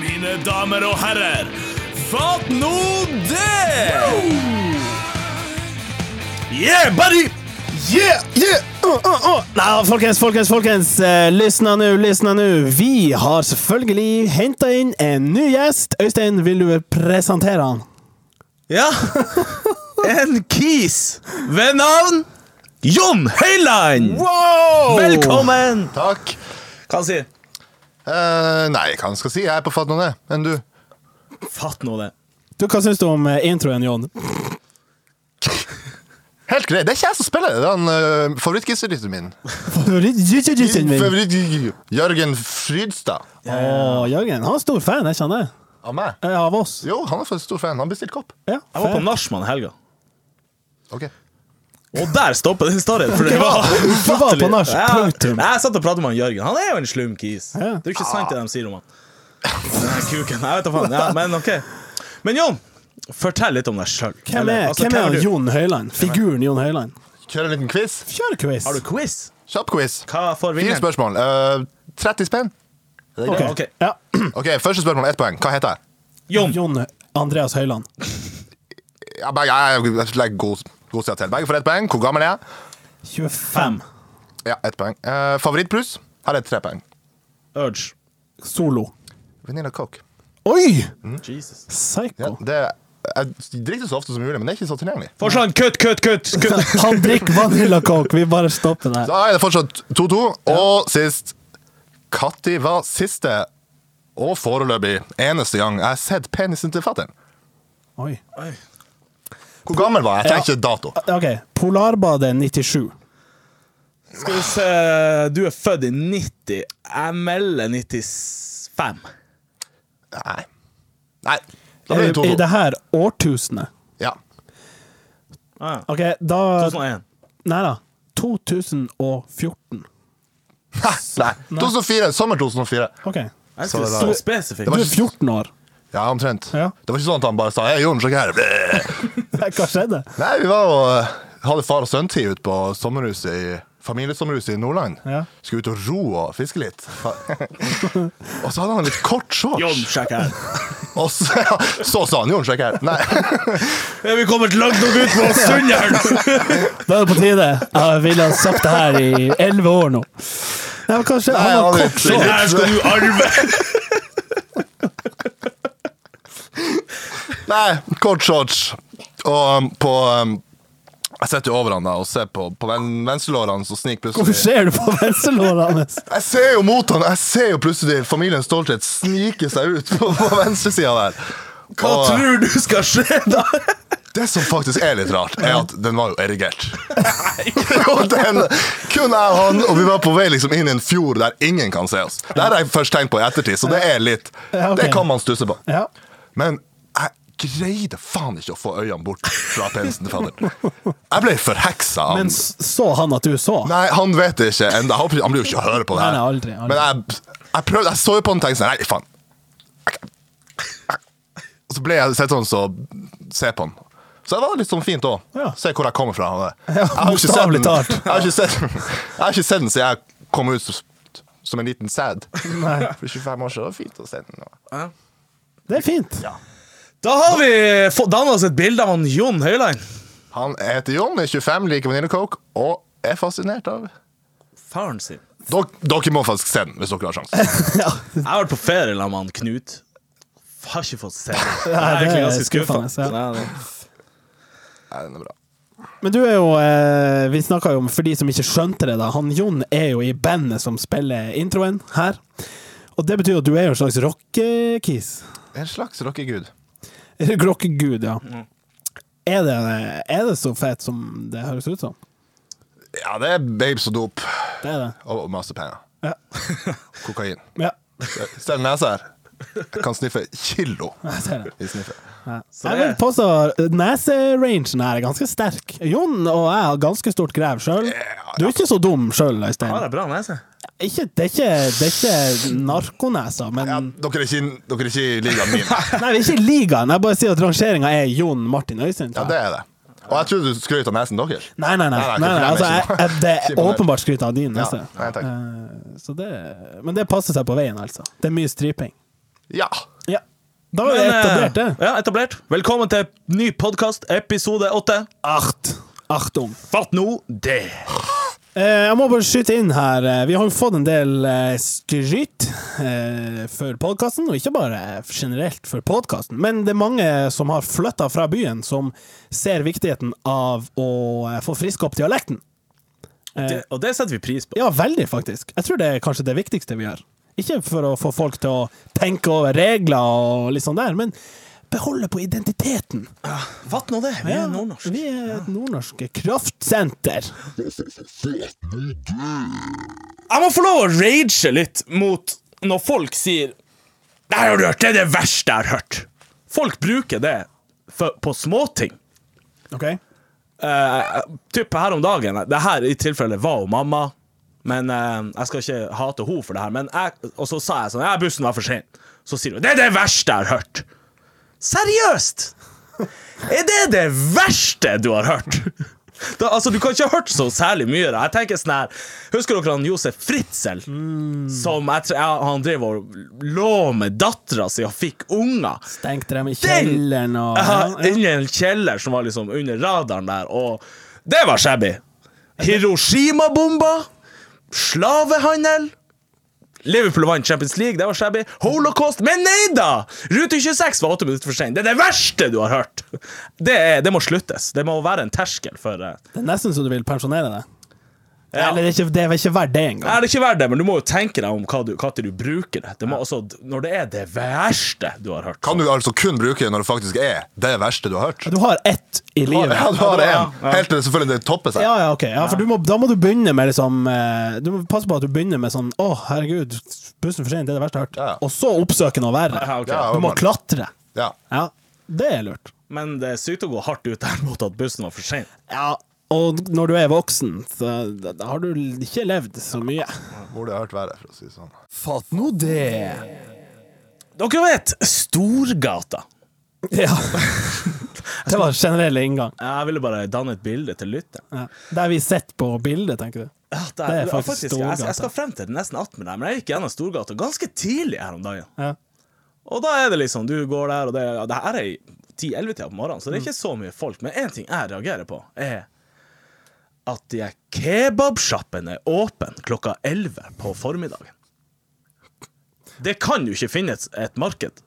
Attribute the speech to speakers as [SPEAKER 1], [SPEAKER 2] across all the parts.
[SPEAKER 1] mine damer og herrer. Fatt nå det! Yeah, buddy!
[SPEAKER 2] Yeah, yeah, uh, uh, uh. Nei, folkens, folkens, folkens. eh, Lysna nå, lysna nå. Vi har selvfølgelig henta inn en ny gjest. Øystein, vil du presentere han?
[SPEAKER 1] Ja. En kis ved navn Jon Høiland. Oh! Velkommen!
[SPEAKER 3] Takk.
[SPEAKER 1] Hva han sier
[SPEAKER 3] Eh, nei, hva skal jeg si? Jeg er på fatt noe, enn du.
[SPEAKER 1] Fatt nå det.
[SPEAKER 2] Du, Hva syns du om eh, introen, Jon?
[SPEAKER 3] Helt greit. Det er ikke jeg som spiller det. Det er han uh, favorittgitaristen min.
[SPEAKER 2] Favorittjujujujuen min.
[SPEAKER 3] Favoritt Jørgen Frydstad.
[SPEAKER 2] Å, Jørgen, han er stor fan, jeg kjenner jeg.
[SPEAKER 3] Av meg?
[SPEAKER 2] Eh, Av oss.
[SPEAKER 3] Jo, han er for stor fan. Han bestilte kopp.
[SPEAKER 2] Ja,
[SPEAKER 1] Jeg var på
[SPEAKER 2] fan.
[SPEAKER 1] Nachman i helga.
[SPEAKER 3] Ok.
[SPEAKER 1] Og der stopper den storyen. For det var
[SPEAKER 2] Du var på nach,
[SPEAKER 1] Ja,
[SPEAKER 2] punktum.
[SPEAKER 1] Jeg satt og pratet med han Jørgen. Han er jo en slum kis. Det
[SPEAKER 2] Ja.
[SPEAKER 1] er jo ikke sant det de sier om han. Den her Kuken. Jeg vet da faen. Ja, men ok. Men Jon, fortell litt om deg altså, sjøl.
[SPEAKER 2] Hvem er, Altså, hvem er han Jon Høiland? Figuren Jon Høiland?
[SPEAKER 3] Kjøre en liten quiz.
[SPEAKER 2] Kjør quiz.
[SPEAKER 1] Har du quiz?
[SPEAKER 3] Kjapp quiz.
[SPEAKER 1] Hva får
[SPEAKER 3] Fire
[SPEAKER 1] vinneren?
[SPEAKER 3] spørsmål. Eh, 30 spenn. Er det
[SPEAKER 2] Ok.
[SPEAKER 3] greit?
[SPEAKER 1] Ok.
[SPEAKER 2] Ja.
[SPEAKER 3] OK, første spørsmål. Ett poeng. Hva heter jeg?
[SPEAKER 1] Jon.
[SPEAKER 2] Jon Andreas Høiland.
[SPEAKER 3] Ja, begge, jeg jeg legger god, god side til. Begge får ett poeng. Hvor gammel er jeg?
[SPEAKER 2] 25.
[SPEAKER 3] Ja, ett poeng. Eh, Favorittbrus? Her er tre poeng.
[SPEAKER 1] Urge.
[SPEAKER 2] Solo.
[SPEAKER 3] Vanilla Coke.
[SPEAKER 2] Oi!
[SPEAKER 1] Jesus.
[SPEAKER 3] Ja,
[SPEAKER 2] Psycho.
[SPEAKER 3] det, jeg drikker så ofte som mulig, men det er ikke så tilgjengelig.
[SPEAKER 1] Forsland, kutt, kutt, kutt! kutt.
[SPEAKER 2] Han drikker Vanilla Coke. Vi bare stopper der.
[SPEAKER 3] Da er det fortsatt 2-2. Og sist Katti var siste og foreløpig eneste gang jeg har sett penisen til fatter'n.
[SPEAKER 2] Oi. Eh,
[SPEAKER 1] Oi.
[SPEAKER 3] Hvor gammel var jeg? Jeg trenger ikke dato.
[SPEAKER 2] OK. Polarbadet 97.
[SPEAKER 1] Skal vi se Du er født i 90. Jeg melder 95.
[SPEAKER 3] Nei. Nei.
[SPEAKER 2] Er
[SPEAKER 3] Da ble
[SPEAKER 2] vi i
[SPEAKER 3] det 2-2.
[SPEAKER 2] det her årtusenet?
[SPEAKER 3] Ja.
[SPEAKER 1] Ah, ja.
[SPEAKER 2] OK, da
[SPEAKER 1] 2001.
[SPEAKER 2] Nei da. 2014.
[SPEAKER 3] Nei. 2004. Sommer 2004.
[SPEAKER 2] OK.
[SPEAKER 1] Jeg
[SPEAKER 3] Så
[SPEAKER 1] skal
[SPEAKER 3] det
[SPEAKER 1] så
[SPEAKER 3] var-
[SPEAKER 2] Du
[SPEAKER 1] spesifikk.
[SPEAKER 2] er 14 år.
[SPEAKER 3] Ja, omtrent.
[SPEAKER 2] Ja.
[SPEAKER 3] Det var ikke sånn at han bare sa 'Hei, Jon, sjekk her'. Bleh.
[SPEAKER 2] Hva skjedde?
[SPEAKER 3] Nei, vi var og eh, hadde far og sønn-tid ute på sommerhuset i familiesommerhuset i Nordland.
[SPEAKER 2] Ja.
[SPEAKER 3] Skulle ut og ro og fiske litt. og så hadde han litt kort shorts.
[SPEAKER 1] Jon, sjekk her.
[SPEAKER 3] Og så, ja, så sa han Jon, sjekk her. Nei.
[SPEAKER 1] Er vi kommet langt nok ut på Sunndalen?
[SPEAKER 2] Da er det på tide. Jeg ville ha sagt det her i 11 år nå. Nei, men kanskje Han
[SPEAKER 3] Nei, han
[SPEAKER 2] var
[SPEAKER 3] er
[SPEAKER 2] kort
[SPEAKER 1] Den
[SPEAKER 2] shorts.
[SPEAKER 1] her skal du arve!
[SPEAKER 3] Nei, kort shorts. Og um, på um, Jeg sitter jo over han da og ser på, på ven, venstrelårene som sniker
[SPEAKER 2] Hvorfor
[SPEAKER 3] plutselig
[SPEAKER 2] ser du på venstrelåret hans?
[SPEAKER 3] Jeg ser jo mot han, jeg ser jo plutselig familien Stolthet snike seg ut på, på venstresida der.
[SPEAKER 1] Hva
[SPEAKER 3] Og, eh,
[SPEAKER 1] tror du skal skje da?
[SPEAKER 3] Det som faktisk er litt rart, er at den var jo erigert. og den kun jeg og han, og vi var på vei liksom inn i en fjord der ingen kan se oss. Det har jeg først tenkt på i ettertid, så det er litt
[SPEAKER 2] Ja, ok.
[SPEAKER 3] Det kan man stusse på.
[SPEAKER 2] Ja.
[SPEAKER 3] Men jeg greide faen ikke å få øynene bort fra penisen til fadder. Jeg ble forheksa. av
[SPEAKER 2] Men
[SPEAKER 3] han.
[SPEAKER 2] s- så han at du så?
[SPEAKER 3] Nei, han vet det ikke ennå. Han blir jo ikke å høre på det her.
[SPEAKER 2] Nei, nei, aldri, aldri.
[SPEAKER 3] Men jeg, jeg prøvde, jeg så jo på han og tenkte sånn Nei, faen. Jeg- jeg- Og så ble jeg sittende og se på han. Så det var litt sånn fint òg.
[SPEAKER 2] Ja.
[SPEAKER 3] Se hvor jeg kommer fra. og det.
[SPEAKER 2] Ja,
[SPEAKER 3] Jeg har ikke sett
[SPEAKER 2] bokstavelig
[SPEAKER 3] den-
[SPEAKER 2] talt.
[SPEAKER 3] Jeg har ikke sett den- jeg har ikke sett den siden jeg kom ut som- som en liten sæd.
[SPEAKER 2] Nei.
[SPEAKER 3] For 25 år siden var det fint å se den. og-
[SPEAKER 2] Det er fint.
[SPEAKER 1] Da har vi fått danna oss et bilde av han Jon Høiland.
[SPEAKER 3] Han heter Jon, er 25, liker Vanilla Coke og er fascinert av
[SPEAKER 1] Faren sin.
[SPEAKER 3] Dere, dere må faktisk se den hvis dere har sjansen.
[SPEAKER 2] Ja.
[SPEAKER 1] Jeg har vært på ferie sammen med han Knut. Har ikke fått se det. Jeg
[SPEAKER 2] Nei,
[SPEAKER 1] er
[SPEAKER 2] det
[SPEAKER 1] egentlig
[SPEAKER 2] er
[SPEAKER 1] ganske
[SPEAKER 2] skuffende.
[SPEAKER 1] skuffa.
[SPEAKER 2] Ja.
[SPEAKER 1] Nei,
[SPEAKER 3] Nei, den er bra.
[SPEAKER 2] Men du er jo eh, Vi snakka jo om, for de som ikke skjønte det, da. Han Jon er jo i bandet som spiller introen her. Og det betyr at du er jo en slags rockekis.
[SPEAKER 3] En slags rockegud.
[SPEAKER 2] Rockegud, ja.
[SPEAKER 1] Mm.
[SPEAKER 2] Er det, er det så fett som det høres ut som?
[SPEAKER 3] Ja, det er babes og dop
[SPEAKER 2] Det er det.
[SPEAKER 3] og og masse penger.
[SPEAKER 2] Ja.
[SPEAKER 3] Kokain.
[SPEAKER 2] ja.
[SPEAKER 3] Stell nesa her. Jeg kan sniffe kilo
[SPEAKER 2] Jeg ser det.
[SPEAKER 3] i sniffe.
[SPEAKER 2] Ja.
[SPEAKER 1] Så
[SPEAKER 2] Jeg
[SPEAKER 1] det-
[SPEAKER 2] vil påstå neserangen her er ganske sterk. Jon og jeg har ganske stort grev sjøl. Du er ikke så dum sjøl, Øystein.
[SPEAKER 1] Har jeg bra nese?
[SPEAKER 2] Ikke, det, er ikke, det er ikke narkonesa, men
[SPEAKER 3] Ja, dere er ikke, dere er ikke i ligaen min.
[SPEAKER 2] Nei, vi er ikke i ligaen. Jeg bare sier at rangeringa er Jon Martin Øystein.
[SPEAKER 3] Ja,
[SPEAKER 2] tror jeg.
[SPEAKER 3] det er det. Og jeg trodde du skrøt av nesen deres.
[SPEAKER 2] Nei, nei, nei.
[SPEAKER 3] Nei,
[SPEAKER 2] nei,
[SPEAKER 3] nei,
[SPEAKER 2] nei
[SPEAKER 3] ikke
[SPEAKER 2] altså, jeg,
[SPEAKER 3] på den.
[SPEAKER 2] jeg, det
[SPEAKER 3] Ikke
[SPEAKER 2] er
[SPEAKER 3] på den.
[SPEAKER 2] åpenbart skryt av din
[SPEAKER 3] Ja.
[SPEAKER 2] nese.
[SPEAKER 3] Nei, takk.
[SPEAKER 2] altså. Eh, så det, men det passer seg på veien, altså. Det er mye striping.
[SPEAKER 3] Ja.
[SPEAKER 2] Ja. Da var det
[SPEAKER 1] Men, eh,
[SPEAKER 2] etablert, det.
[SPEAKER 1] Ja, etablert. Velkommen til ny podkast, episode åtte.
[SPEAKER 2] Art. Artung.
[SPEAKER 1] Fatt nå det!
[SPEAKER 2] Eh, jeg må bare skyte inn her. eh, Vi har jo fått en del eh, skryt eh, for podkasten, og ikke bare generelt for podkasten, men det er mange som har flytta fra byen, som ser viktigheten av å eh, få friska opp dialekten. Eh.
[SPEAKER 1] det. Og det setter vi pris på.
[SPEAKER 2] Ja, veldig, faktisk. Jeg tror det er kanskje det viktigste vi gjør. Ikke for å få folk til å tenke over regler og litt sånn der, men beholde på identiteten.
[SPEAKER 1] Fatt nå det. Vi er nordnorsk.
[SPEAKER 2] Vi er et nordnorsk kraftsenter.
[SPEAKER 1] Jeg må få lov å rage litt mot når folk sier Det her har du hørt, det er det verste jeg har hørt. Folk bruker det for, på småting.
[SPEAKER 2] Ok?
[SPEAKER 1] Uh, typ her om dagen Det her i tilfellet var jo mamma. Men eh, Jeg skal ikke hate henne for det her, men jeg, og så sa jeg sånn Ja, bussen var for sen. Så sier hun Det er det verste jeg har hørt. Seriøst! Er det det verste du har hørt? Da, altså, Du kan ikke ha hørt så særlig mye. Da. Jeg tenker sånn her Husker dere han Josef Fritzel? Som jeg, tror- ja, Han drev og lå med dattera si og fikk unger.
[SPEAKER 2] Stengte dem i
[SPEAKER 1] Den-
[SPEAKER 2] kjelleren og
[SPEAKER 1] Ja, Inni en kjeller som var liksom under radaren der, og det var shabby. Hiroshima-bomber, slavehandel Liverpool vant Champions League, det var shabby. Holocaust Men nei da! Rute 26 var åtte minutter for sein. Det er det verste du har hørt! Det, er, det må sluttes. Det må være en terskel for eh,
[SPEAKER 2] Det er nesten så du vil pensjonere deg.
[SPEAKER 1] ja.
[SPEAKER 2] Eller det er, ikke, det er vel ikke verdt det
[SPEAKER 1] Nei,
[SPEAKER 2] engang.
[SPEAKER 1] det er ikke verdt det, men du må jo tenke deg om hva du, hva til du bruker det. det må, altså, når det er det verste du har hørt.
[SPEAKER 3] Kan du altså kun bruke det når det faktisk er det verste du har hørt?
[SPEAKER 2] Du har ett i livet.
[SPEAKER 3] Ja, du har
[SPEAKER 1] Ja,
[SPEAKER 3] en. Helt til det selvfølgelig det topper seg.
[SPEAKER 2] Ja, ja, ok. Ja, for du må, da må du begynne med liksom eh, Du må passe på at du begynner med sånn Å, herregud, bussen for sent, det er det verste jeg har hørt.
[SPEAKER 3] Ja.
[SPEAKER 2] Og så oppsøke noe verre.
[SPEAKER 1] Ja, ok.
[SPEAKER 3] Ja,
[SPEAKER 2] Du må
[SPEAKER 3] åpenbart.
[SPEAKER 2] klatre.
[SPEAKER 3] Ja.
[SPEAKER 2] Ja, det er lurt.
[SPEAKER 1] Men det er sykt å gå hardt ut der mot at bussen var for sein.
[SPEAKER 2] Ja, og når du er voksen, så da da har du ikke levd så mye.
[SPEAKER 3] Hvor det har hørt verre, for å si det sånn.
[SPEAKER 2] Fatt nå det!
[SPEAKER 1] Dere vet Storgata.
[SPEAKER 2] Ja. Det var generell inngang.
[SPEAKER 1] Jeg ville bare danne et bilde til lytteren.
[SPEAKER 2] Ja. Der vi sitter på bildet, tenker du.
[SPEAKER 1] Ja, det
[SPEAKER 2] Det
[SPEAKER 1] er,
[SPEAKER 2] er
[SPEAKER 1] faktisk,
[SPEAKER 2] faktisk
[SPEAKER 1] jeg,
[SPEAKER 2] Storgata.
[SPEAKER 1] jeg skal frem til det nesten attmed deg, men jeg gikk gjennom Storgata ganske tidlig her om dagen.
[SPEAKER 2] Ja.
[SPEAKER 1] Og da er det liksom, du går der, og det, ja, det her er i 10-11-tida på morgenen, så det er ikke så mye folk. Men én ting jeg reagerer på, er at de her kebabsjappene er åpen klokka 11 på formiddagen. Det kan jo ikke finnes et marked.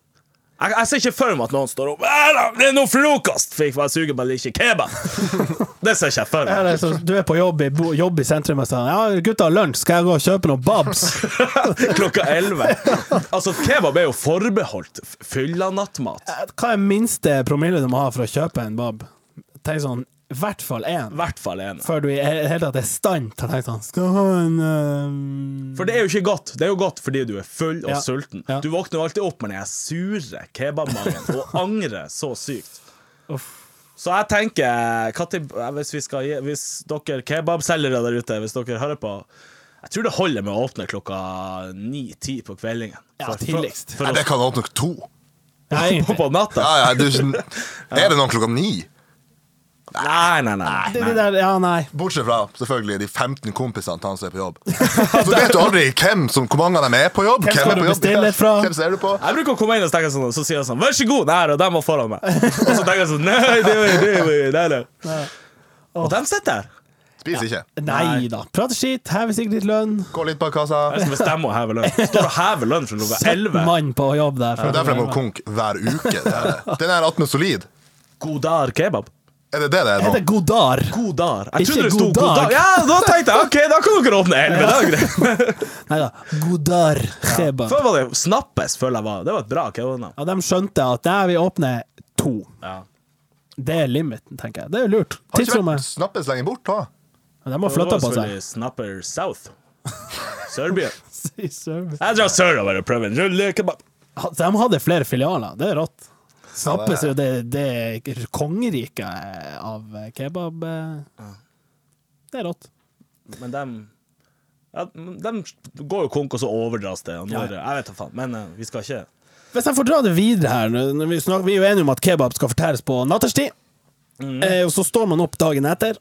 [SPEAKER 1] Jeg, jeg ser ikke for meg at noen står opp «Ja da, 'Det er nå frokost!' For jeg var sugen på at det ikke er kebab. Det ser ikke jeg for
[SPEAKER 2] Ja,
[SPEAKER 1] meg.
[SPEAKER 2] det er så, du er på jobb i, bo, jobb i sentrum og sier Ja, gutta, lunsj, skal jeg gå og kjøpe noen babs?
[SPEAKER 1] Klokka 11. Altså, kebab er jo forbeholdt f- fylla nattmat.
[SPEAKER 2] Eh, Hva er minste promille du må ha for å kjøpe en bab? Tenk sånn, i hvert fall én.
[SPEAKER 1] I hvert fall en.
[SPEAKER 2] Før du i he- hele tatt er i stand til å tenke sånn Skal jeg ha en eh, øhm,
[SPEAKER 1] For det er jo ikke godt. Det er jo godt fordi du er full og
[SPEAKER 2] Ja.
[SPEAKER 1] sulten.
[SPEAKER 2] Ja.
[SPEAKER 1] Du våkner jo alltid opp med den her sure kebabmagen og angrer så sykt.
[SPEAKER 2] Uff.
[SPEAKER 1] Så jeg tenker hva til- eh, Hvis, vi skal, gi- hvis dere kebabselgere der ute, hvis dere hører på Jeg tror det holder med å åpne klokka ni-ti på kveldingen.
[SPEAKER 2] Ja,
[SPEAKER 1] For- for-
[SPEAKER 2] tidligst.
[SPEAKER 1] For,
[SPEAKER 3] Nei, det
[SPEAKER 1] å
[SPEAKER 3] kan åpne to.
[SPEAKER 2] Ja,
[SPEAKER 1] stå
[SPEAKER 2] egentlig.
[SPEAKER 1] på natta.
[SPEAKER 3] Ja, ja, du, er det noen klokka ni?
[SPEAKER 1] Nei, nei, nei.
[SPEAKER 2] Det,
[SPEAKER 1] nei.
[SPEAKER 2] det der, ja, nei.
[SPEAKER 3] Bortsett fra selvfølgelig de 15 kompisene til han som er på jobb. Så du vet jo aldri hvem som, hvor mange av dem er på jobb.
[SPEAKER 2] Hvem skal
[SPEAKER 3] er på
[SPEAKER 2] du
[SPEAKER 3] jobb,
[SPEAKER 2] bestille fra?
[SPEAKER 3] Hvem ser du på?
[SPEAKER 1] Jeg bruker å komme inn og tenke sånn, og så sier jeg sånn 'Vær så god!' Nei, og de var foran meg. Og så tenker jeg sånn Nei, det var det var- nei, nei. Og de sitter der.
[SPEAKER 3] Spiser ikke.
[SPEAKER 2] Nei da. Prater skit, hever sikkert litt lønn.
[SPEAKER 3] Gå litt bak kassa.
[SPEAKER 1] Jeg skal bestemme å heve lønn. Står og hever lønn fra klokka 11.
[SPEAKER 2] Mann på jobb der.
[SPEAKER 3] Det er derfor jeg må konk hver uke. Det er det. Den er attmed solid.
[SPEAKER 1] God dag, kebab.
[SPEAKER 3] Er det det det er
[SPEAKER 2] Heter
[SPEAKER 3] nå?
[SPEAKER 2] Godar.
[SPEAKER 1] God dag. Jeg
[SPEAKER 2] Ikke
[SPEAKER 1] trodde det sto
[SPEAKER 2] god
[SPEAKER 1] god dag.
[SPEAKER 2] dag.
[SPEAKER 1] Ja, da tenkte jeg OK, da kan dere åpne 11. Det er greit.
[SPEAKER 2] Nei da. Godar kebab.
[SPEAKER 1] Før var det Snappes, føler jeg var. Det var et bra kebabnavn.
[SPEAKER 2] Ja, de skjønte at nei, vi åpner to.
[SPEAKER 1] Ja.
[SPEAKER 2] Det er limiten, tenker jeg. Det er jo lurt.
[SPEAKER 3] Har ikke vært
[SPEAKER 2] Tidsrommet.
[SPEAKER 3] snappes lenge bort, da.
[SPEAKER 2] De har
[SPEAKER 1] Det
[SPEAKER 2] flytta
[SPEAKER 1] var
[SPEAKER 2] på seg.
[SPEAKER 1] selvfølgelig Snapper South. Serbia.
[SPEAKER 2] I service.
[SPEAKER 1] Jeg drar sørover og prøver en rullekebab.
[SPEAKER 2] Ha- De hadde flere filialer, det er rått. Snappes jo det, det er kongeriket eh, av kebab eh. Det er rått.
[SPEAKER 1] Men dem ja, dem går jo konk, og så overdras det. Og nå er det- jeg vet da faen. Men eh, vi skal ikke
[SPEAKER 2] Hvis jeg får dra det videre her nå- når vi, snakker, vi er jo enige om at kebab skal fortæres på natterstid. Eh, og så står man opp dagen etter.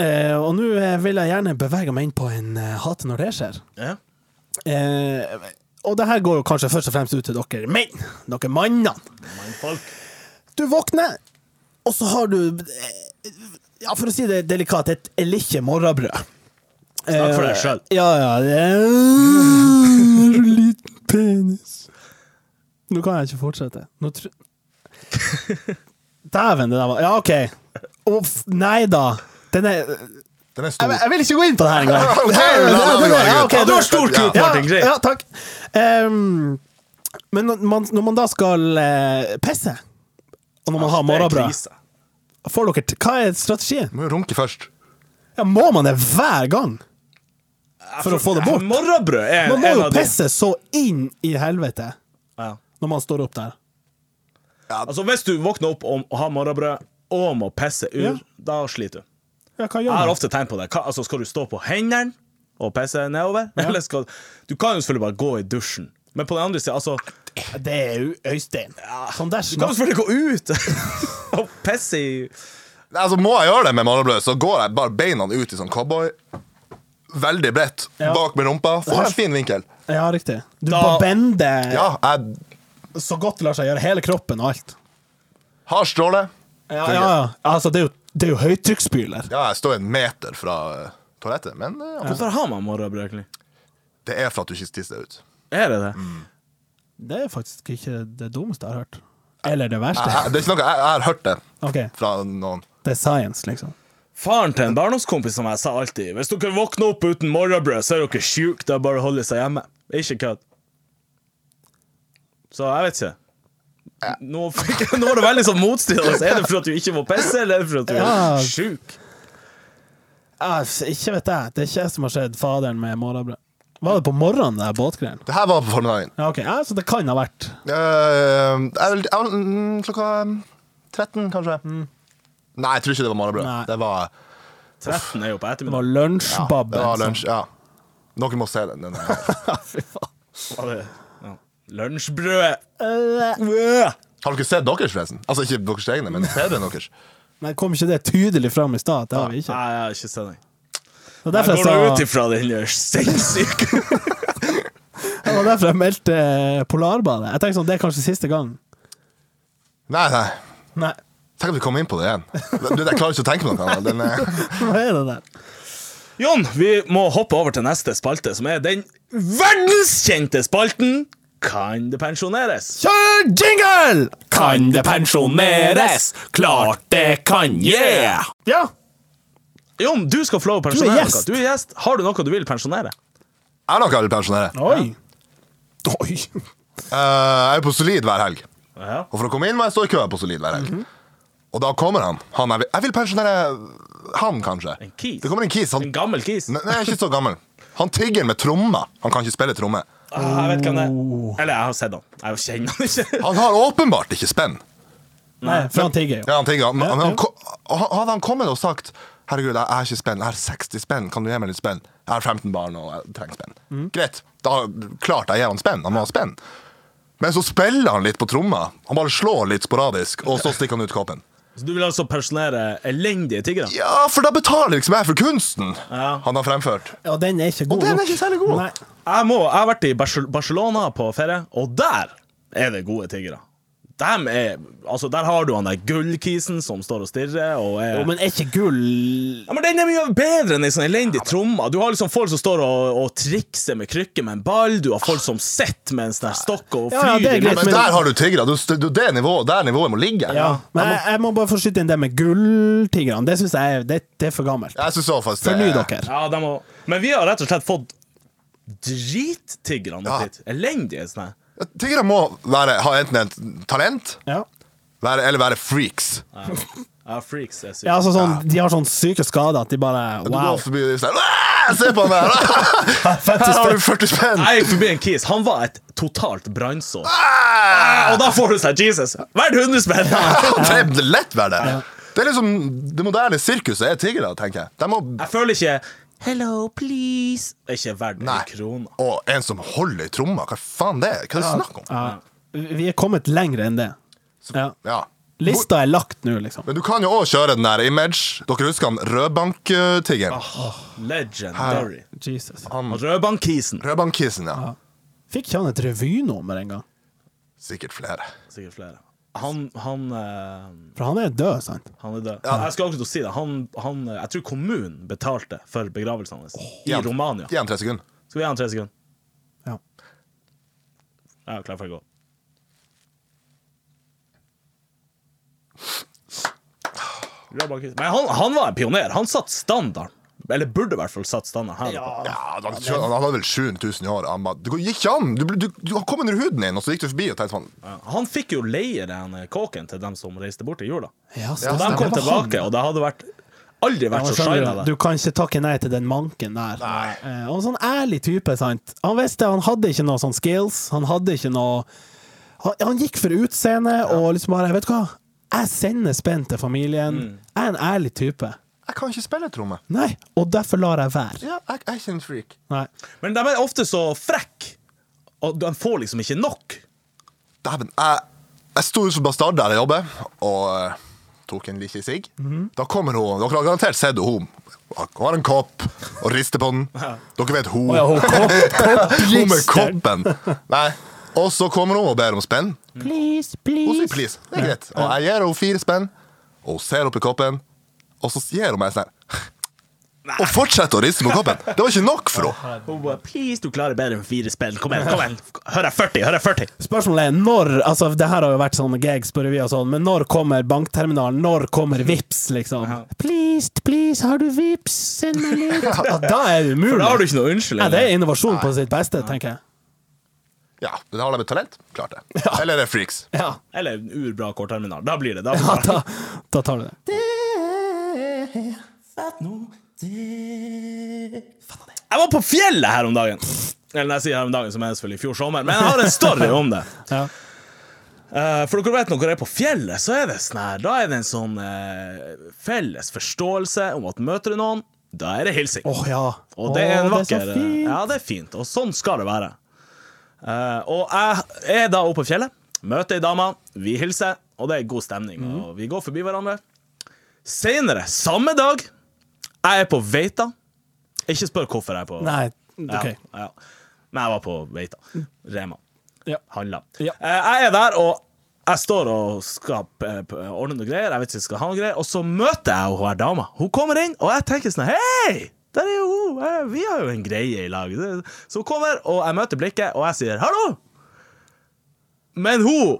[SPEAKER 2] Eh, og nå eh, vil jeg gjerne bevege meg inn på en eh, hate når det skjer.
[SPEAKER 1] ja.
[SPEAKER 2] Eh, og det her går jo kanskje først og fremst ut til dere menn, dere mannene. Du våkner, og så har du eh, Ja, for å si det delikat, et elikkje morrabrød.
[SPEAKER 1] Snakk for deg selv.
[SPEAKER 2] Eh, Ja, ja. Det er liten penis. Nå kan jeg ikke fortsette. Nå tr... Dæven, det der var Ja, OK. Uff, nei da. Den er
[SPEAKER 3] Den er
[SPEAKER 2] jeg,
[SPEAKER 3] stor.
[SPEAKER 2] jeg vil ikke gå inn på det her engang.
[SPEAKER 3] Ok, la det være greit.
[SPEAKER 2] Ja, ok,
[SPEAKER 3] Ja,
[SPEAKER 1] du har stor kuk,
[SPEAKER 2] ja,
[SPEAKER 1] Martin, greit.
[SPEAKER 2] Ja, takk. Ehm, men når man, når man da skal eh, pisse, og når man har morgenbrød Får dere t- Hva er strategien?
[SPEAKER 3] Må jo runke først.
[SPEAKER 2] Ja, må man det hver gang? For å få det bort?
[SPEAKER 1] Morrabrød er
[SPEAKER 2] Man må
[SPEAKER 1] en
[SPEAKER 2] jo
[SPEAKER 1] av de
[SPEAKER 2] pisse så inn i helvete
[SPEAKER 1] ja.
[SPEAKER 2] når man står opp der.
[SPEAKER 1] Altså, hvis du våkner opp og og har morrabrød og må pisse ur,
[SPEAKER 2] Ja.
[SPEAKER 1] da sliter du.
[SPEAKER 2] Ja, hva
[SPEAKER 1] Jeg
[SPEAKER 2] gjør
[SPEAKER 1] har
[SPEAKER 2] man?
[SPEAKER 1] ofte tenkt på det. Hva, altså, skal du stå på hendene og pisse nedover? Eller skal Du kan jo selvfølgelig bare gå i dusjen, men på den andre sida, altså
[SPEAKER 2] Det er jo Øystein. Sånn der
[SPEAKER 1] Du kan jo
[SPEAKER 2] snakker
[SPEAKER 1] selvfølgelig gå ut og pisse i
[SPEAKER 3] Nei, Altså, må jeg gjøre det med morgenbrød, så går jeg bare beina ut i sånn cowboy. Veldig bredt.
[SPEAKER 2] Ja.
[SPEAKER 3] Bak med rumpa. Får en fin vinkel.
[SPEAKER 2] Ja, riktig. Du
[SPEAKER 1] Da-
[SPEAKER 2] bare bender
[SPEAKER 3] Ja, jeg
[SPEAKER 2] så godt det lar seg gjøre. Hele kroppen og alt.
[SPEAKER 3] har stråle.
[SPEAKER 2] Ja, ja, ja. Altså, det er jo, det er jo høytrykksspyler.
[SPEAKER 3] Ja, jeg står en meter fra eh, toalettet, men eh,
[SPEAKER 1] Hvorfor har man morrabrød, egentlig?
[SPEAKER 3] det er for at du ikke tisser deg ut.
[SPEAKER 1] Er det det?
[SPEAKER 2] Det er faktisk ikke det dummeste jeg har hørt. Eller det
[SPEAKER 3] Jeg,
[SPEAKER 2] verste.
[SPEAKER 3] jeg, det er ikke noe, jeg, jeg har hørt det
[SPEAKER 2] OK,
[SPEAKER 3] fra noen.
[SPEAKER 2] det er science, liksom.
[SPEAKER 1] Faren til en barndomskompis som jeg sa alltid Hvis dere våkner opp uten morgenbrød, så er dere sjuke. Det er bare å holde seg hjemme. Ikke kødd. Så jeg vet ikke. Nå, fikk, nå er det veldig sånn motstridende. Er det for at du ikke må pisse, eller er det for at du
[SPEAKER 2] Ja.
[SPEAKER 1] er sjuk?
[SPEAKER 2] Ah, f- ikke vet jeg. Det er ikke jeg som har sett faderen med morgenbrød. Var det på morgenen, det der båtgreiene?
[SPEAKER 3] Det her var på formiddagen.
[SPEAKER 2] Ja, ok. Ja, så det kan ha vært
[SPEAKER 3] Eh, jeg, vil- jeg, vil- mm, klokka mm, 13, kanskje. Nei, jeg tror ikke det var
[SPEAKER 2] Mm. Nei.
[SPEAKER 3] morgenbrød. Det var,
[SPEAKER 1] 13 er jo på
[SPEAKER 2] Det
[SPEAKER 1] ettermiddag.
[SPEAKER 2] var
[SPEAKER 3] det
[SPEAKER 2] lunsjbabben.
[SPEAKER 3] var
[SPEAKER 2] som-
[SPEAKER 3] lunsj. Ja. Noen må se den. den her.
[SPEAKER 2] Fy faen.
[SPEAKER 1] Var det- Ja. Lunsjbrød!
[SPEAKER 2] Eh,
[SPEAKER 3] Har dere sett deres, forresten? Altså ikke deres egne, men fedrene deres.
[SPEAKER 2] Nei, kom ikke det tydelig fram i stad? Det har vi ikke.
[SPEAKER 1] Nei, jeg har ikke sett den.
[SPEAKER 2] Det var
[SPEAKER 1] Jeg
[SPEAKER 2] derfor jeg,
[SPEAKER 1] går da ut
[SPEAKER 2] sa,
[SPEAKER 1] ifra den der sinnssyke
[SPEAKER 2] det var derfor jeg meldte eh, Polarbadet. Jeg tenkte sånn, det er kanskje siste gang.
[SPEAKER 3] Nei, nei.
[SPEAKER 2] Nei,
[SPEAKER 3] Tenk at vi kommer inn på det igjen. Du, jeg klarer ikke å tenke på noe annet. Den, eh,
[SPEAKER 2] hva er det der?
[SPEAKER 1] Jon, vi må hoppe over til neste spalte, som er den verdenskjente spalten Kan det pensjoneres?
[SPEAKER 2] Kjør jingle!
[SPEAKER 1] Kan det pensjoneres? Klart det kan, yeah!
[SPEAKER 2] Ja!
[SPEAKER 1] Jon, du skal få lov å
[SPEAKER 2] Du er
[SPEAKER 1] pensjonere noe.
[SPEAKER 2] gjest.
[SPEAKER 1] Du er gjest. Har du noe du vil pensjonere?
[SPEAKER 3] jeg er nok aldri pensjonere.
[SPEAKER 2] Oi. Oi.
[SPEAKER 3] Eh, jeg er på Solid hver helg.
[SPEAKER 1] Ja.
[SPEAKER 3] Og for å komme inn må jeg stå i kø på Solid hver
[SPEAKER 1] Mhm.
[SPEAKER 3] helg. Og da kommer han. han jeg, vil, jeg vil pensjonere han, kanskje.
[SPEAKER 1] En kis.
[SPEAKER 3] Det kommer en kis. Han,
[SPEAKER 1] En gammel kis?
[SPEAKER 3] nei, nei, ikke så gammel. Han tigger med trommer. Han kan ikke spille tromme.
[SPEAKER 1] Ah, jeg vet hvem det er. Eller, jeg har sett han. Jeg kjenner han ikke.
[SPEAKER 3] Han har åpenbart ikke spenn.
[SPEAKER 2] Nei, for han tigger jo.
[SPEAKER 3] Ja, han tigger. Han, han,
[SPEAKER 2] Ja, ja.
[SPEAKER 3] han, ko- han- hadde han kommet og sagt Herregud, jeg har ikke spenn. Jeg har 60 spenn. Kan du gi meg litt spenn? Jeg har 15 barn og jeg trenger spenn.
[SPEAKER 2] Mm.
[SPEAKER 3] Greit. Da klart jeg gir han spenn. Han må ha spenn. Men så spiller han litt på tromma. Han bare slår litt sporadisk, og så stikker han ut koppen.
[SPEAKER 1] Så du vil altså pensjonere elendige tiggere?
[SPEAKER 3] Ja, for da betaler liksom jeg for kunsten
[SPEAKER 1] Ja.
[SPEAKER 3] han har fremført.
[SPEAKER 2] Og den er ikke god
[SPEAKER 3] Og den er
[SPEAKER 2] nok.
[SPEAKER 3] ikke særlig god.
[SPEAKER 2] Nei.
[SPEAKER 1] Jeg, må, jeg har vært i Barcel- Barcelona på ferie, og der er det gode tiggere. Dem er, altså, der har du han der gullkisen som står og stirrer og er
[SPEAKER 2] Jo, men er ikke gull
[SPEAKER 1] Ja, men Den er mye bedre enn ei sånn elendig tromme. Du har liksom folk som står og, og trikser med krykker med en ball, du har folk som sitter med en sånn her stokk og
[SPEAKER 2] Ja, ja,
[SPEAKER 1] flyr
[SPEAKER 2] det er
[SPEAKER 1] i
[SPEAKER 2] greit,
[SPEAKER 1] luften.
[SPEAKER 3] Men
[SPEAKER 2] Men-
[SPEAKER 3] der har du tiggere. Du, du, det nivået, der nivået må ligge.
[SPEAKER 2] Ja. Men jeg, jeg må bare få skyte inn det med gulltigrene. Det syns jeg er, det, det er for gammelt.
[SPEAKER 3] Jeg synes også faktisk det
[SPEAKER 2] Forny
[SPEAKER 3] er-
[SPEAKER 2] dere.
[SPEAKER 1] Ja, de må... Men vi har rett og slett fått drittiggerne
[SPEAKER 3] Ja.
[SPEAKER 1] opp hit. Elendige sånne. sånn her.
[SPEAKER 3] Tiggere må være, ha enten et talent
[SPEAKER 2] Ja.
[SPEAKER 3] være, eller være freaks.
[SPEAKER 1] Ja, freaks er sykt.
[SPEAKER 2] Ja, altså sånn, De har sånn syke skader at de bare
[SPEAKER 3] Du går
[SPEAKER 2] Wow.
[SPEAKER 3] forbi og sier «Åh, Se på han der! Her har du 40 spenn!
[SPEAKER 1] Jeg gikk forbi en kis. Han var et totalt brannsår.
[SPEAKER 3] Åh!
[SPEAKER 1] Og da får du sånn Jesus! Verdt 100 spenn!
[SPEAKER 3] Det er lett være det. Det er liksom Det moderne sirkuset er tiggere, tenker jeg. De må
[SPEAKER 1] Jeg føler ikke Hello, please! Det er ikke verdt
[SPEAKER 3] Nei.
[SPEAKER 1] en krone.
[SPEAKER 3] Og en som holder i tromma, hva faen det er? Hva er det snakk om?
[SPEAKER 2] Ja. Vi er kommet lenger enn det. Ja.
[SPEAKER 3] Ja.
[SPEAKER 2] Lista er lagt nå, liksom.
[SPEAKER 3] Men du kan jo òg kjøre den der image. Dere husker han rødbanktiggeren?
[SPEAKER 1] Legendary.
[SPEAKER 2] Jesus.
[SPEAKER 1] Rødbankkisen.
[SPEAKER 3] Rødbankkisen, ja.
[SPEAKER 2] Fikk ikke han et revynummer en gang?
[SPEAKER 3] Sikkert flere.
[SPEAKER 1] Sikkert flere. Han, han, eh,
[SPEAKER 2] For han er død, sant?
[SPEAKER 1] han er død. Jeg skal akkurat si det. Han, han, eh, jeg tror kommunen betalte for begravelsen hans i
[SPEAKER 3] Igjen.
[SPEAKER 1] Romania.
[SPEAKER 3] Gi han tre sekunder.
[SPEAKER 1] Skal vi gi han tre sekunder?
[SPEAKER 2] Ja.
[SPEAKER 1] Jeg er klar for å gå. Bra bakhus. Men han, han var en pioner. Han satt standarden. Eller burde i hvert fall satt standarden her. oppe.
[SPEAKER 3] Ja, han, han hadde vel 700 000 i året. Han bare Det går- gikk ikke an! Du, ble- du, du kom under huden din, og så gikk du forbi og tenkte sånn
[SPEAKER 1] Ja. Han fikk jo leie den eh, kåken til dem som reiste bort i jula.
[SPEAKER 2] Ja,
[SPEAKER 1] Og
[SPEAKER 2] stemmer.
[SPEAKER 1] de kom
[SPEAKER 2] Det var han.
[SPEAKER 1] tilbake, og det hadde vært aldri
[SPEAKER 2] Ja,
[SPEAKER 1] vært
[SPEAKER 2] men
[SPEAKER 1] så shina
[SPEAKER 2] skjønner
[SPEAKER 1] der.
[SPEAKER 2] Du du kan ikke takke nei til den manken der.
[SPEAKER 3] Nei.
[SPEAKER 2] Eh, og en sånn ærlig type, sant. Han visste han hadde ikke noe sånn skills. Han hadde ikke noe Han, han gikk for utseende og liksom bare Vet du hva? Jeg sender spenn til familien. Jeg er en ærlig type.
[SPEAKER 3] Jeg kan ikke spille tromme.
[SPEAKER 2] Nei, og derfor lar jeg være.
[SPEAKER 3] Ja, jeg, jeg er ikke en freak.
[SPEAKER 2] Nei.
[SPEAKER 1] Men de er ofte så frekke, og de får liksom ikke nok.
[SPEAKER 3] Dæven. Jeg, jeg sto ut som bastard der jeg jobber, og eh, tok en liten sigg.
[SPEAKER 2] Mhm.
[SPEAKER 3] Da kommer hun. Dere har garantert sett henne. Hun har en kopp og rister på den. Dere vet hun.
[SPEAKER 2] Ja, hun kom,
[SPEAKER 3] Hun med koppen. Nei. Og så kommer hun og ber om spenn.
[SPEAKER 2] Please,
[SPEAKER 3] Hun sier
[SPEAKER 2] please.
[SPEAKER 3] please. Det er greit. Og jeg gir henne fire spenn, og hun ser opp i koppen, og så gir hun meg sånn her. Og fortsetter å riste på koppen. Det var ikke nok for henne.
[SPEAKER 1] Hun bare, please, du klarer bedre enn fire spill. Kom igjen, kom igjen. Hør jeg 40, hør jeg 40.
[SPEAKER 2] Spørsmålet er når Altså, det her har jo vært sånne gags på revy og sånn, men når kommer bankterminalen? Når kommer Vips liksom? Please, please, har du Vips? Send meg litt. Ja, da er det umulig.
[SPEAKER 1] For da har du ikke noe unnskyldning.
[SPEAKER 2] Ja, det er innovasjon på sitt beste, tenker jeg.
[SPEAKER 3] Ja, men har de et talent? Klart det. Eller er det freaks?
[SPEAKER 2] Ja,
[SPEAKER 1] Eller en urbra kortterminal. Da blir det. Da
[SPEAKER 2] ja
[SPEAKER 1] blir det.
[SPEAKER 2] da, da tar du det.
[SPEAKER 1] Jeg var på fjellet her om dagen. Eller når jeg sier her om dagen, så mener jeg selvfølgelig i fjor sommer, men jeg har en story om det.
[SPEAKER 2] Ja.
[SPEAKER 1] Eh, For dere vet når dere er på fjellet, så er det sånn her Da er det en sånn eh, felles forståelse om at møter du noen, da er det hilsing.
[SPEAKER 2] Åh, ja.
[SPEAKER 1] Og det er en
[SPEAKER 2] Åh, det
[SPEAKER 1] vakker eh,
[SPEAKER 2] så fint.
[SPEAKER 1] Ja, det er fint. Og sånn skal det være. Eh, og jeg er da oppe på fjellet, møter ei dame, vi hilser, og det er god stemning.
[SPEAKER 2] Mhm.
[SPEAKER 1] Og vi går forbi hverandre. Seinere, samme dag, jeg er på Veita. Ikke spør hvorfor jeg er på
[SPEAKER 2] Nei,
[SPEAKER 1] ja,
[SPEAKER 2] OK.
[SPEAKER 1] ja. Men jeg var på Veita. Rema
[SPEAKER 2] Ja.
[SPEAKER 1] handla.
[SPEAKER 2] Ja.
[SPEAKER 1] Eh, jeg er der, og jeg står og skal eh, p- ordne noe greier. Jeg vet ikke om jeg skal ha noe greier Og så møter jeg hun her dama. Hun kommer inn, og jeg tenker sånn Hei! Der er jo hun! Eh, Vi har jo en greie i lag. Det- Så hun kommer, og jeg møter blikket, og jeg sier 'hallo'. Men hun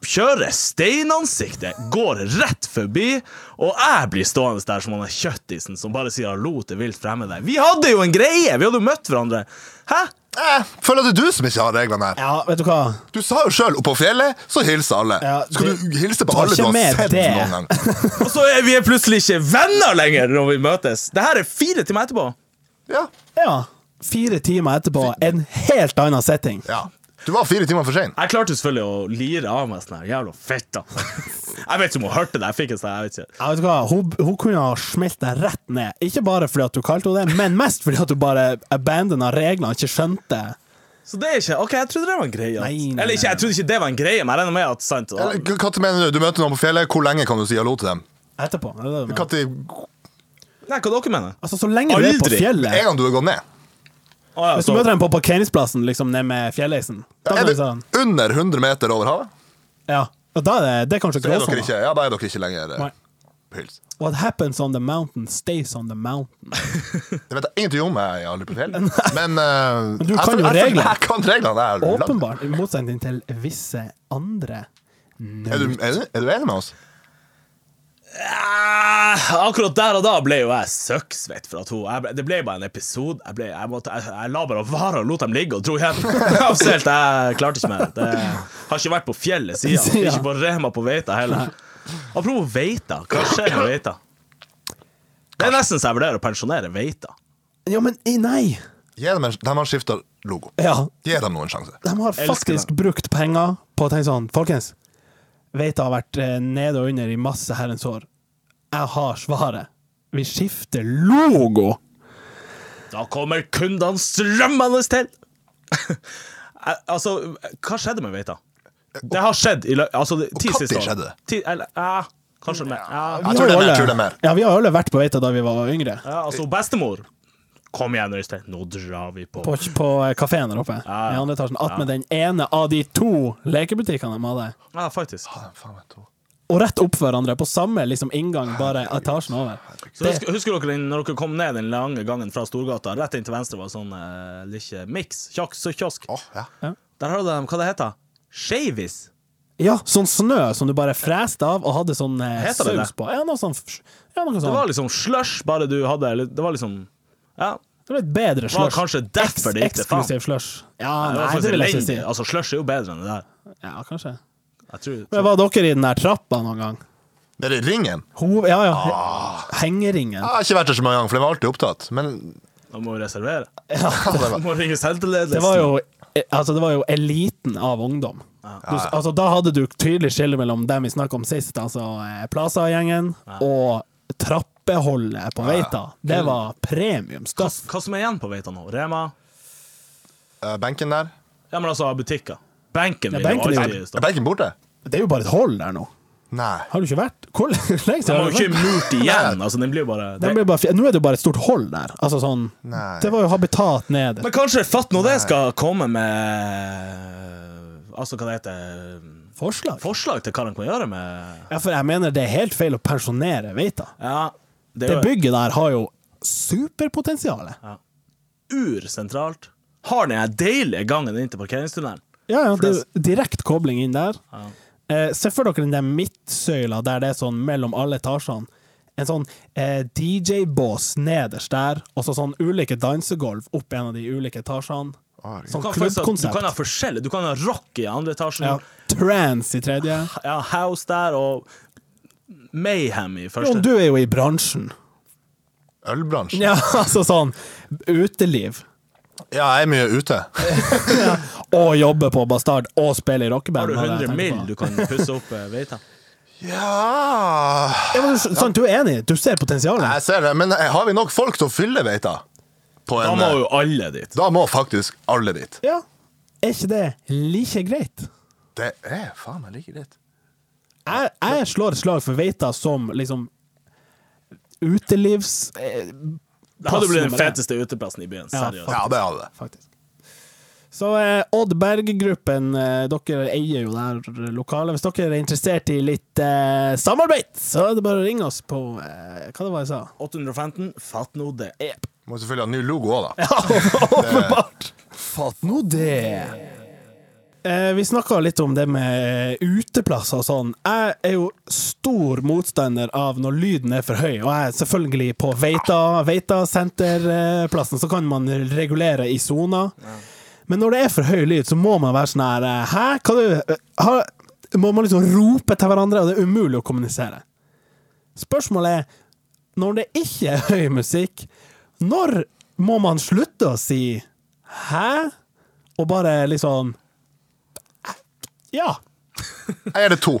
[SPEAKER 1] kjører steinansiktet, går rett forbi, og jeg blir stående der som han er kjøttisen som bare sier hallo til vilt fremmede. Vi hadde jo en greie! Vi hadde jo møtt hverandre. Hæ?
[SPEAKER 3] Jeg Eh, føler at det er du som ikke har reglene her.
[SPEAKER 2] Ja, vet du hva?
[SPEAKER 3] Du sa jo sjøl oppå fjellet, så hilser alle.
[SPEAKER 2] Ja,
[SPEAKER 3] Skal
[SPEAKER 2] du-
[SPEAKER 3] du hilse på
[SPEAKER 2] ta
[SPEAKER 3] alle du
[SPEAKER 2] ikke med
[SPEAKER 3] har sett
[SPEAKER 2] det.
[SPEAKER 3] noen gang?
[SPEAKER 1] Og så er vi plutselig ikke venner lenger når vi møtes. Det her er fire timer etterpå.
[SPEAKER 3] Ja.
[SPEAKER 2] Ja. Fire timer etterpå, en helt annen setting.
[SPEAKER 3] ja. Du var fire timer for sein.
[SPEAKER 1] Jeg klarte selvfølgelig å lire av meg sånn her jævla fitta. Jeg vet ikke om hun hørte det. Jeg fikk en sånn, jeg vet ikke.
[SPEAKER 2] Ja, vet du hva? Hun, hun kunne ha smelt deg rett ned. Ikke bare fordi at du kalte henne det, men mest fordi at du bare abandona reglene og ikke skjønte.
[SPEAKER 1] Så det er ikke OK, jeg trodde det var en greie. at-
[SPEAKER 2] Nei, nei, nei.
[SPEAKER 1] Eller ikke, jeg trodde ikke det var en greie, men jeg regner med at sant.
[SPEAKER 3] Eller, hva- Hva mener du? Du møter noen på fjellet, hvor lenge kan du si hallo til dem?
[SPEAKER 2] Etterpå. er det det du mener?
[SPEAKER 3] Hva til,
[SPEAKER 1] Nei, hva dere mener
[SPEAKER 2] Altså, så lenge du er på
[SPEAKER 1] Aldri.
[SPEAKER 2] fjellet
[SPEAKER 3] en gang du har gått ned?
[SPEAKER 1] Å, ja,
[SPEAKER 2] Hvis du
[SPEAKER 1] så-
[SPEAKER 2] møter dem på parkeringsplassen, liksom ned med fjelleisen, da
[SPEAKER 3] Er
[SPEAKER 2] kan du
[SPEAKER 3] det
[SPEAKER 2] sånn
[SPEAKER 3] under 100 meter over havet?
[SPEAKER 2] Ja. Og da er det, det er kanskje
[SPEAKER 3] Så er dere
[SPEAKER 2] gråsonen.
[SPEAKER 3] ikke, ja, da er dere ikke lenger eh,
[SPEAKER 2] Nei.
[SPEAKER 3] på hils.
[SPEAKER 2] What happens on the mountain stays on the mountain.
[SPEAKER 3] Det vet jeg ingenting om, jeg er aldri på fjellet. Men, eh,
[SPEAKER 2] du
[SPEAKER 3] jeg
[SPEAKER 2] kan
[SPEAKER 3] føl-
[SPEAKER 2] jo
[SPEAKER 3] jeg føl-
[SPEAKER 2] reglene.
[SPEAKER 3] Jeg kan reglene. Jeg er, langt-
[SPEAKER 2] Åpenbart, i motsetning til visse andre.
[SPEAKER 3] er, du, er, du, er du enig med oss?
[SPEAKER 1] Eh, Akkurat der og da ble jo jeg søkksvett for at hun jeg ble, Det ble bare en episode. Jeg, ble, jeg, måtte, jeg, jeg la bare vare og lot dem ligge og dro hjem. Absolutt, jeg klarte ikke mer. Det har ikke vært på fjellet siden.
[SPEAKER 2] Ja.
[SPEAKER 1] Ikke på Rema på Veita heller. Apropos Veita, hva skjer med Veita? Det er nesten så jeg vurderer å pensjonere Veita.
[SPEAKER 2] Ja, men i- nei!
[SPEAKER 3] Gi dem en, de har skifta logo.
[SPEAKER 2] Ja,
[SPEAKER 3] Gi dem nå en sjanse.
[SPEAKER 2] de har
[SPEAKER 1] Elsker
[SPEAKER 2] faktisk brukt penger på å tenke sånn Folkens, vet jeg har vært eh, nede og under i masse herrens år. Jeg har svaret. Vi skifter logo!
[SPEAKER 1] Da kommer kundene strømmende til! Eh, altså, hva skjedde med Veita? Det har skjedd i lø... Altså, de- ti
[SPEAKER 3] når
[SPEAKER 1] siste år.
[SPEAKER 3] skjedde det?
[SPEAKER 1] Ti, eller, ja, kanskje mer. Ja.
[SPEAKER 3] Jeg tror det er mer, jeg tror det er mer.
[SPEAKER 2] Ja, vi har alle vært på Veita da vi var yngre.
[SPEAKER 1] Ja, altså bestemor Kom igjen, Øystein, nå drar vi på.
[SPEAKER 2] På, på kafeen der oppe
[SPEAKER 1] Ja, ja.
[SPEAKER 2] i andre etasjen.
[SPEAKER 1] Ja.
[SPEAKER 2] Attmed den ene av de to lekebutikkene de hadde.
[SPEAKER 1] Ja, faktisk.
[SPEAKER 3] Ah, faen, vet du.
[SPEAKER 2] Og rett opp hverandre, på samme liksom, inngang, bare etasjen over.
[SPEAKER 1] Så husker, husker dere den, når dere kom ned den lange gangen fra Storgata, rett inn til venstre var det sånn uh, lille miks, kiosk, så kiosk.
[SPEAKER 3] Åh, ja.
[SPEAKER 1] Der hadde de, hva det heter Shavis.
[SPEAKER 2] Ja, sånn snø som du bare freste av og hadde sånn eh,
[SPEAKER 1] Heter det
[SPEAKER 2] saus
[SPEAKER 1] det?
[SPEAKER 2] på. Ja, noe sånn, ja, noe
[SPEAKER 1] Det var
[SPEAKER 2] sånn.
[SPEAKER 1] liksom slush, bare du hadde litt- Det var liksom Ja.
[SPEAKER 2] Det var et bedre
[SPEAKER 1] Det var
[SPEAKER 2] slush.
[SPEAKER 1] kanskje derfor det gikk til faen.
[SPEAKER 2] Eksklusiv slush.
[SPEAKER 1] Det
[SPEAKER 2] Ja,
[SPEAKER 1] var
[SPEAKER 2] nei,
[SPEAKER 1] faktisk
[SPEAKER 2] det vil jeg ikke si.
[SPEAKER 1] elendig. Altså, slush er jo bedre enn det der.
[SPEAKER 2] Ja, kanskje.
[SPEAKER 1] Jeg tror,
[SPEAKER 2] Men var dere i den der trappa noen gang?
[SPEAKER 3] Det er ringen.
[SPEAKER 2] Hov, ja, ja.
[SPEAKER 1] Ah.
[SPEAKER 2] Hengeringen.
[SPEAKER 3] Jeg har ikke vært der så mange ganger, for jeg var alltid opptatt. Men
[SPEAKER 1] Da må vi reservere.
[SPEAKER 3] ja, det
[SPEAKER 1] Du
[SPEAKER 3] var,
[SPEAKER 1] må ringe selvtillatelsen.
[SPEAKER 2] Det var jo, eh, altså, det var jo eliten av ungdom. Du, altså, da hadde du tydelig skille mellom dem vi snakket om sist, altså eh, Plaza-gjengen, og trappeholdet på Veita. Det var premium
[SPEAKER 1] hva,
[SPEAKER 2] stuff.
[SPEAKER 1] hva som er igjen på Veita nå? Rema?
[SPEAKER 3] eh, benken der
[SPEAKER 1] Ja, men altså butikker. Benken
[SPEAKER 2] Ja,
[SPEAKER 1] vil jo
[SPEAKER 2] benken er jo-
[SPEAKER 1] alltid stå.
[SPEAKER 3] Er benken borte?
[SPEAKER 2] Det er jo bare et hold der nå.
[SPEAKER 3] Nei.
[SPEAKER 2] Har du ikke vært? Hvor lenge siden
[SPEAKER 1] Den
[SPEAKER 2] har
[SPEAKER 1] var
[SPEAKER 2] du
[SPEAKER 1] jo ikke
[SPEAKER 2] vært?
[SPEAKER 1] murt igjen. Altså, den blir jo bare
[SPEAKER 2] Den ble bare, fj- nå er det jo bare et stort hold der. Altså sånn
[SPEAKER 3] Nei.
[SPEAKER 2] Det var jo habitat nede.
[SPEAKER 1] Men kanskje Fatt nå det skal komme med Altså, hva det heter
[SPEAKER 2] Forslag?
[SPEAKER 1] Forslag til hva de kan gjøre med
[SPEAKER 2] Ja, for jeg mener det er helt feil å pensjonere Veita.
[SPEAKER 1] Ja, det
[SPEAKER 2] Det
[SPEAKER 1] er jo
[SPEAKER 2] bygget der har jo superpotensialet.
[SPEAKER 1] ursentralt. Har den her deilige gangen inn til parkeringstunnelen.
[SPEAKER 2] Ja, ja,
[SPEAKER 1] For
[SPEAKER 2] det
[SPEAKER 1] det-
[SPEAKER 2] er jo direkte kobling inn der.
[SPEAKER 1] Ja.
[SPEAKER 2] Eh, se for dere den der midtsøyla der det er sånn mellom alle etasjene. En sånn eh, DJ-bås nederst der, og så sånn ulike dansegolv opp en av de ulike etasjene.
[SPEAKER 3] Herregud.
[SPEAKER 1] Ah, Du
[SPEAKER 2] Sånn
[SPEAKER 1] kan, faktisk, ha- du kan ha
[SPEAKER 2] klubbkonsept.
[SPEAKER 1] forskjellig. Du kan ha rock i andre etasjen,
[SPEAKER 2] Ja, trans i tredje.
[SPEAKER 1] ja, house der og mayhem i
[SPEAKER 2] Jon,
[SPEAKER 1] første.
[SPEAKER 2] du er jo i bransjen.
[SPEAKER 3] Ølbransjen?
[SPEAKER 2] Ja, altså sånn uteliv.
[SPEAKER 3] Ja, jeg er mye ute.
[SPEAKER 2] Og jobbe på Bastard, og spille i rockeband.
[SPEAKER 1] Har du
[SPEAKER 2] var
[SPEAKER 1] 100
[SPEAKER 2] det jeg tenkte
[SPEAKER 1] mill
[SPEAKER 2] på.
[SPEAKER 1] du kan pusse opp eh, Veita?
[SPEAKER 3] Ja
[SPEAKER 2] Ja, men, du- sant, du er enig? Du ser potensialet?
[SPEAKER 3] Jeg ser det, men eh, har vi nok folk til å fylle Veita? På
[SPEAKER 1] Da
[SPEAKER 3] en, eh,
[SPEAKER 1] må
[SPEAKER 2] eh,
[SPEAKER 1] jo alle dit.
[SPEAKER 3] da må faktisk alle dit.
[SPEAKER 2] Ja. Er ikke det like greit?
[SPEAKER 3] Det er faen meg like greit.
[SPEAKER 2] jeg, jeg slår et slag for Veita som liksom utelivs... Eh,
[SPEAKER 1] Det hadde blitt
[SPEAKER 2] plass nummer
[SPEAKER 1] den
[SPEAKER 2] én,
[SPEAKER 1] feteste uteplassen i byen.
[SPEAKER 2] Ja,
[SPEAKER 1] Seriøst.
[SPEAKER 3] Ja, det er alle.
[SPEAKER 2] Faktisk. Så eh, Odd Berg-gruppen, eh, dere eier jo det her lokalet. Hvis dere er interessert i litt eh, samarbeid, så er det bare å ringe oss på eh, Hva det var jeg sa?
[SPEAKER 1] 815, fatt nå det.
[SPEAKER 3] Må selvfølgelig ha ny logo òg, da.
[SPEAKER 2] Åpenbart! Fatt nå det! Eh, vi snakka litt om det med uteplasser og sånn. Jeg er jo stor motstander av når lyden er for høy, og jeg er selvfølgelig på Veita, Veita senterplassen, så kan man regulere i sona. Men når det er for høy lyd, så må man være sånn her eh, Hæ? Hva du ha, Må man liksom rope til hverandre, og det er umulig å kommunisere. Spørsmålet er når det ikke er høy musikk, når må man slutte å si 'hæ' og bare liksom Ja,
[SPEAKER 3] Jeg gir det to.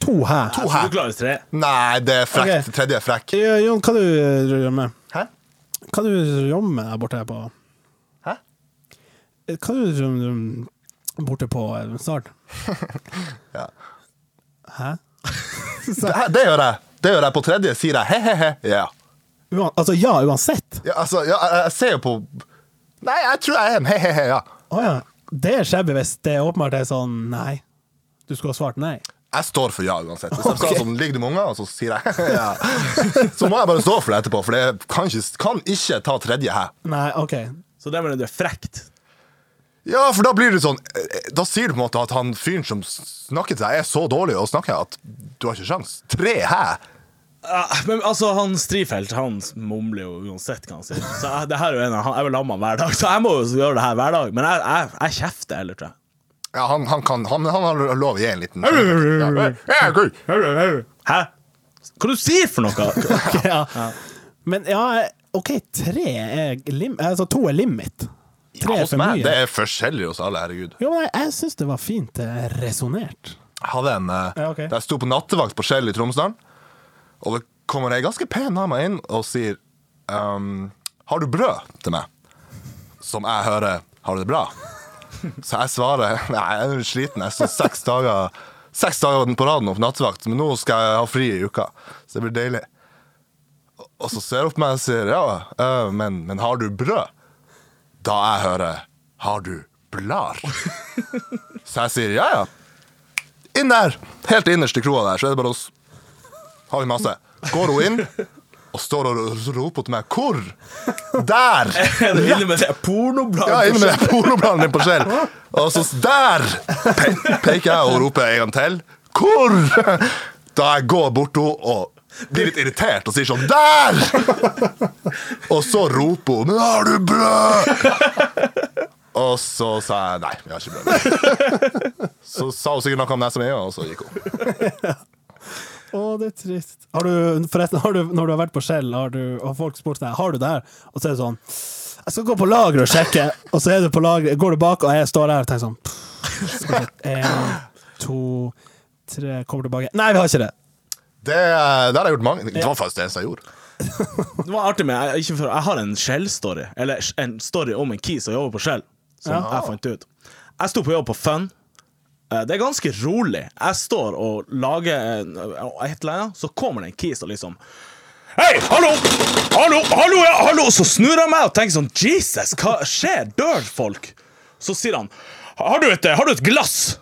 [SPEAKER 2] to hæ.
[SPEAKER 1] Så
[SPEAKER 3] To
[SPEAKER 1] du
[SPEAKER 3] her.
[SPEAKER 1] klarer tre.
[SPEAKER 3] Nei, det er frekt.
[SPEAKER 2] Ok.
[SPEAKER 3] Tredje er frekk.
[SPEAKER 2] Ja, Jon, hva du jobber med?
[SPEAKER 3] Hæ?
[SPEAKER 2] Hva du jobber med der borte på Eh,
[SPEAKER 3] Hæ?
[SPEAKER 2] Hva du jobber med borte på eh, Start?
[SPEAKER 3] Ja.
[SPEAKER 2] Hæ?
[SPEAKER 3] Det, her- det gjør jeg. Det gjør jeg på tredje. Sier jeg he-he-he. Ja.
[SPEAKER 2] Uan, altså ja, uansett.
[SPEAKER 3] ja, altså, ja, jeg, jeg ser jo på Nei, jeg tror jeg er en he-he-he, ja.
[SPEAKER 2] Å ja. Det er shabby hvis det åpenbart er sånn nei. Du skulle ha svart nei.
[SPEAKER 3] Jeg står for ja uansett. Hvis jeg
[SPEAKER 2] Ok.
[SPEAKER 3] skal sånn, ligger du med unger, og så sier jeg ja. Så må jeg bare stå for det etterpå, for jeg kan ikke, kan ikke ta tredje her.
[SPEAKER 2] Nei, OK.
[SPEAKER 1] Så det mener du er frekt.
[SPEAKER 3] Ja, for da blir det sånn eh, Da sier du på en måte at han fyren som snakker til deg, er så dårlig å snakke at du har ikke sjans. Tre hæ?
[SPEAKER 1] Ja, men altså, han Strifeldt han mumler jo uansett hva han sier. Så jeg, det her er jo en av han, Jeg vil lamme han hver dag, så jeg må jo gjøre det her hver dag. Men jeg, jeg, jeg kjefter heller, tror jeg.
[SPEAKER 3] Ja, han, han, kan, han, han har lov å gi en liten ja, cool.
[SPEAKER 1] Hæ? Hva du sier for noe?
[SPEAKER 2] Ok, ja. Men ja, OK, tre er lim... Altså, to er limit. Tre
[SPEAKER 3] Ja,
[SPEAKER 2] er
[SPEAKER 3] hos
[SPEAKER 2] for
[SPEAKER 3] meg,
[SPEAKER 2] mye.
[SPEAKER 3] det er forskjellig hos alle, herregud.
[SPEAKER 2] Jo, men jeg, jeg syns det var fint eh, resonnert.
[SPEAKER 3] Jeg hadde en eh,
[SPEAKER 2] Ja, ok.
[SPEAKER 3] da Jeg sto på nattevakt på Skjell i Tromsdalen, og det kommer ei ganske pen dame inn og sier ehm, Har du brød til meg? Som jeg hører Har du det bra? Så jeg svarer Nei, jeg er sliten. Jeg står seks dager Seks dager på raden nå på nattevakt, men nå skal jeg ha fri i uka. Så det blir deilig. Og så ser hun på meg og sier ja, eh, men, men har du brød? Da jeg hører har du blar? Så jeg sier ja, ja. Inn der! Helt innerst i kroa der, så er det bare oss. Har vi masse. Går hun inn og står og roper til meg hvor? Der!
[SPEAKER 1] Er du inne med det pornobladet?
[SPEAKER 3] Ja, inne med den pornobladen din på skjell. Og så der pe peker jeg og roper en gang til. Hvor? Da jeg går bort til henne og blir litt irritert og sier sånn Der! Og så roper hun Men har du brød? Og så sa jeg nei, vi har ikke brød. Så sa hun sikkert noe om nesa mi, og så gikk hun.
[SPEAKER 2] Å, det er trist. Har du, forresten, har du, når du har vært på Shell, har, du, har folk spurt deg har du det her, og så er det sånn Jeg skal gå på lageret og sjekke, og så er du på lageret, går du bak, og jeg står der og tenker sånn pff, skal vi- En, to, tre Kommer tilbake. Nei, vi har ikke det!
[SPEAKER 3] Det, det har jeg gjort mange Det var faktisk det eneste jeg gjorde.
[SPEAKER 1] Det var artig med jeg, ikke for, jeg har en Shell-story. Eller en story om en kis som jobber på Shell. Som
[SPEAKER 2] Ja.
[SPEAKER 1] jeg fant ut. Jeg sto på jobb på Fun. Eh, Det er ganske rolig. Jeg står og lager en, eh, et eller annet, så kommer det en kis og liksom Hei, hallo! Hallo, hallo, ja, hallo! Så snur jeg meg og tenker sånn Jesus, hva skjer? Dør folk? Så sier han Har du et, har du et glass?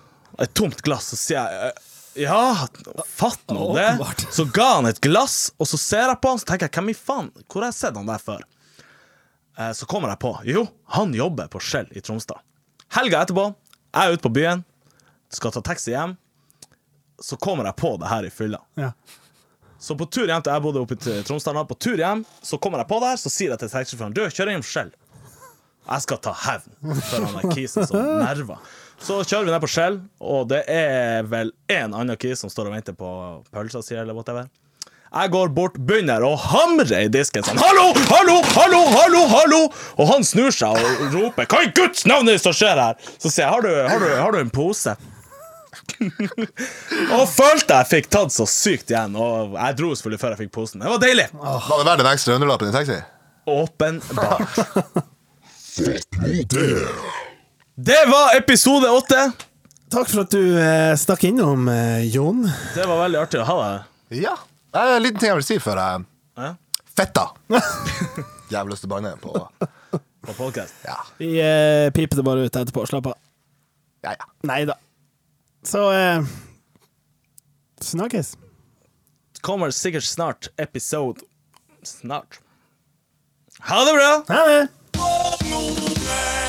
[SPEAKER 1] Et tomt glass. Så sier jeg «Eh, Ja, fatt nå det.
[SPEAKER 2] Åpenbart.
[SPEAKER 1] Så ga han et glass, og så ser jeg på han, så tenker jeg hvem i faen? Hvor har jeg sett han der før? Eh, Så kommer jeg på Jo, han jobber på Shell i Tromsdal. Helga etterpå, jeg er ute på byen, skal ta taxi hjem. Så kommer jeg på det her i fylla.
[SPEAKER 2] Ja.
[SPEAKER 1] Så på tur hjem til jeg bodde oppe i T- Tromsdal, da, på tur hjem, så kommer jeg på det her, så sier jeg til taxisjåføren Du, kjør innom Skjell. Jeg skal ta hevn for han der kisen som nerver. Så kjører vi ned på Skjell, og det er vel én annen kis som står og venter på pølsa si, eller whatever. Jeg går bort, begynner å hamre i disken sånn Hallo, hallo, hallo, hallo, hallo! Og han snur seg og roper Hva i Guds navn er det som skjer her? Så sier jeg har du, har du, har du en pose? og følte jeg fikk tatt så sykt igjen, og jeg dro selvfølgelig før jeg fikk posen. Det var deilig!
[SPEAKER 3] Var det verdt en ekstra hundrelapp i en taxi?
[SPEAKER 1] Åpenbart. Det var episode åtte.
[SPEAKER 2] Takk for at du eh, stakk innom, eh, Jon.
[SPEAKER 1] Det var veldig artig å ha deg eh, her.
[SPEAKER 3] Ja. Det er en liten ting jeg vil si før jeg
[SPEAKER 1] Ja,
[SPEAKER 3] Fetta! Jævlig lyst til å banne på
[SPEAKER 1] på podcast.
[SPEAKER 3] Ja,
[SPEAKER 2] Vi eh, piper det bare ut etterpå. Slapp av.
[SPEAKER 3] ja, ja.
[SPEAKER 2] Nei da. Så eh, Snakkes.
[SPEAKER 1] Kommer sikkert snart episode Snart. Ha det bra!
[SPEAKER 2] Ha det!
[SPEAKER 4] Nordnes.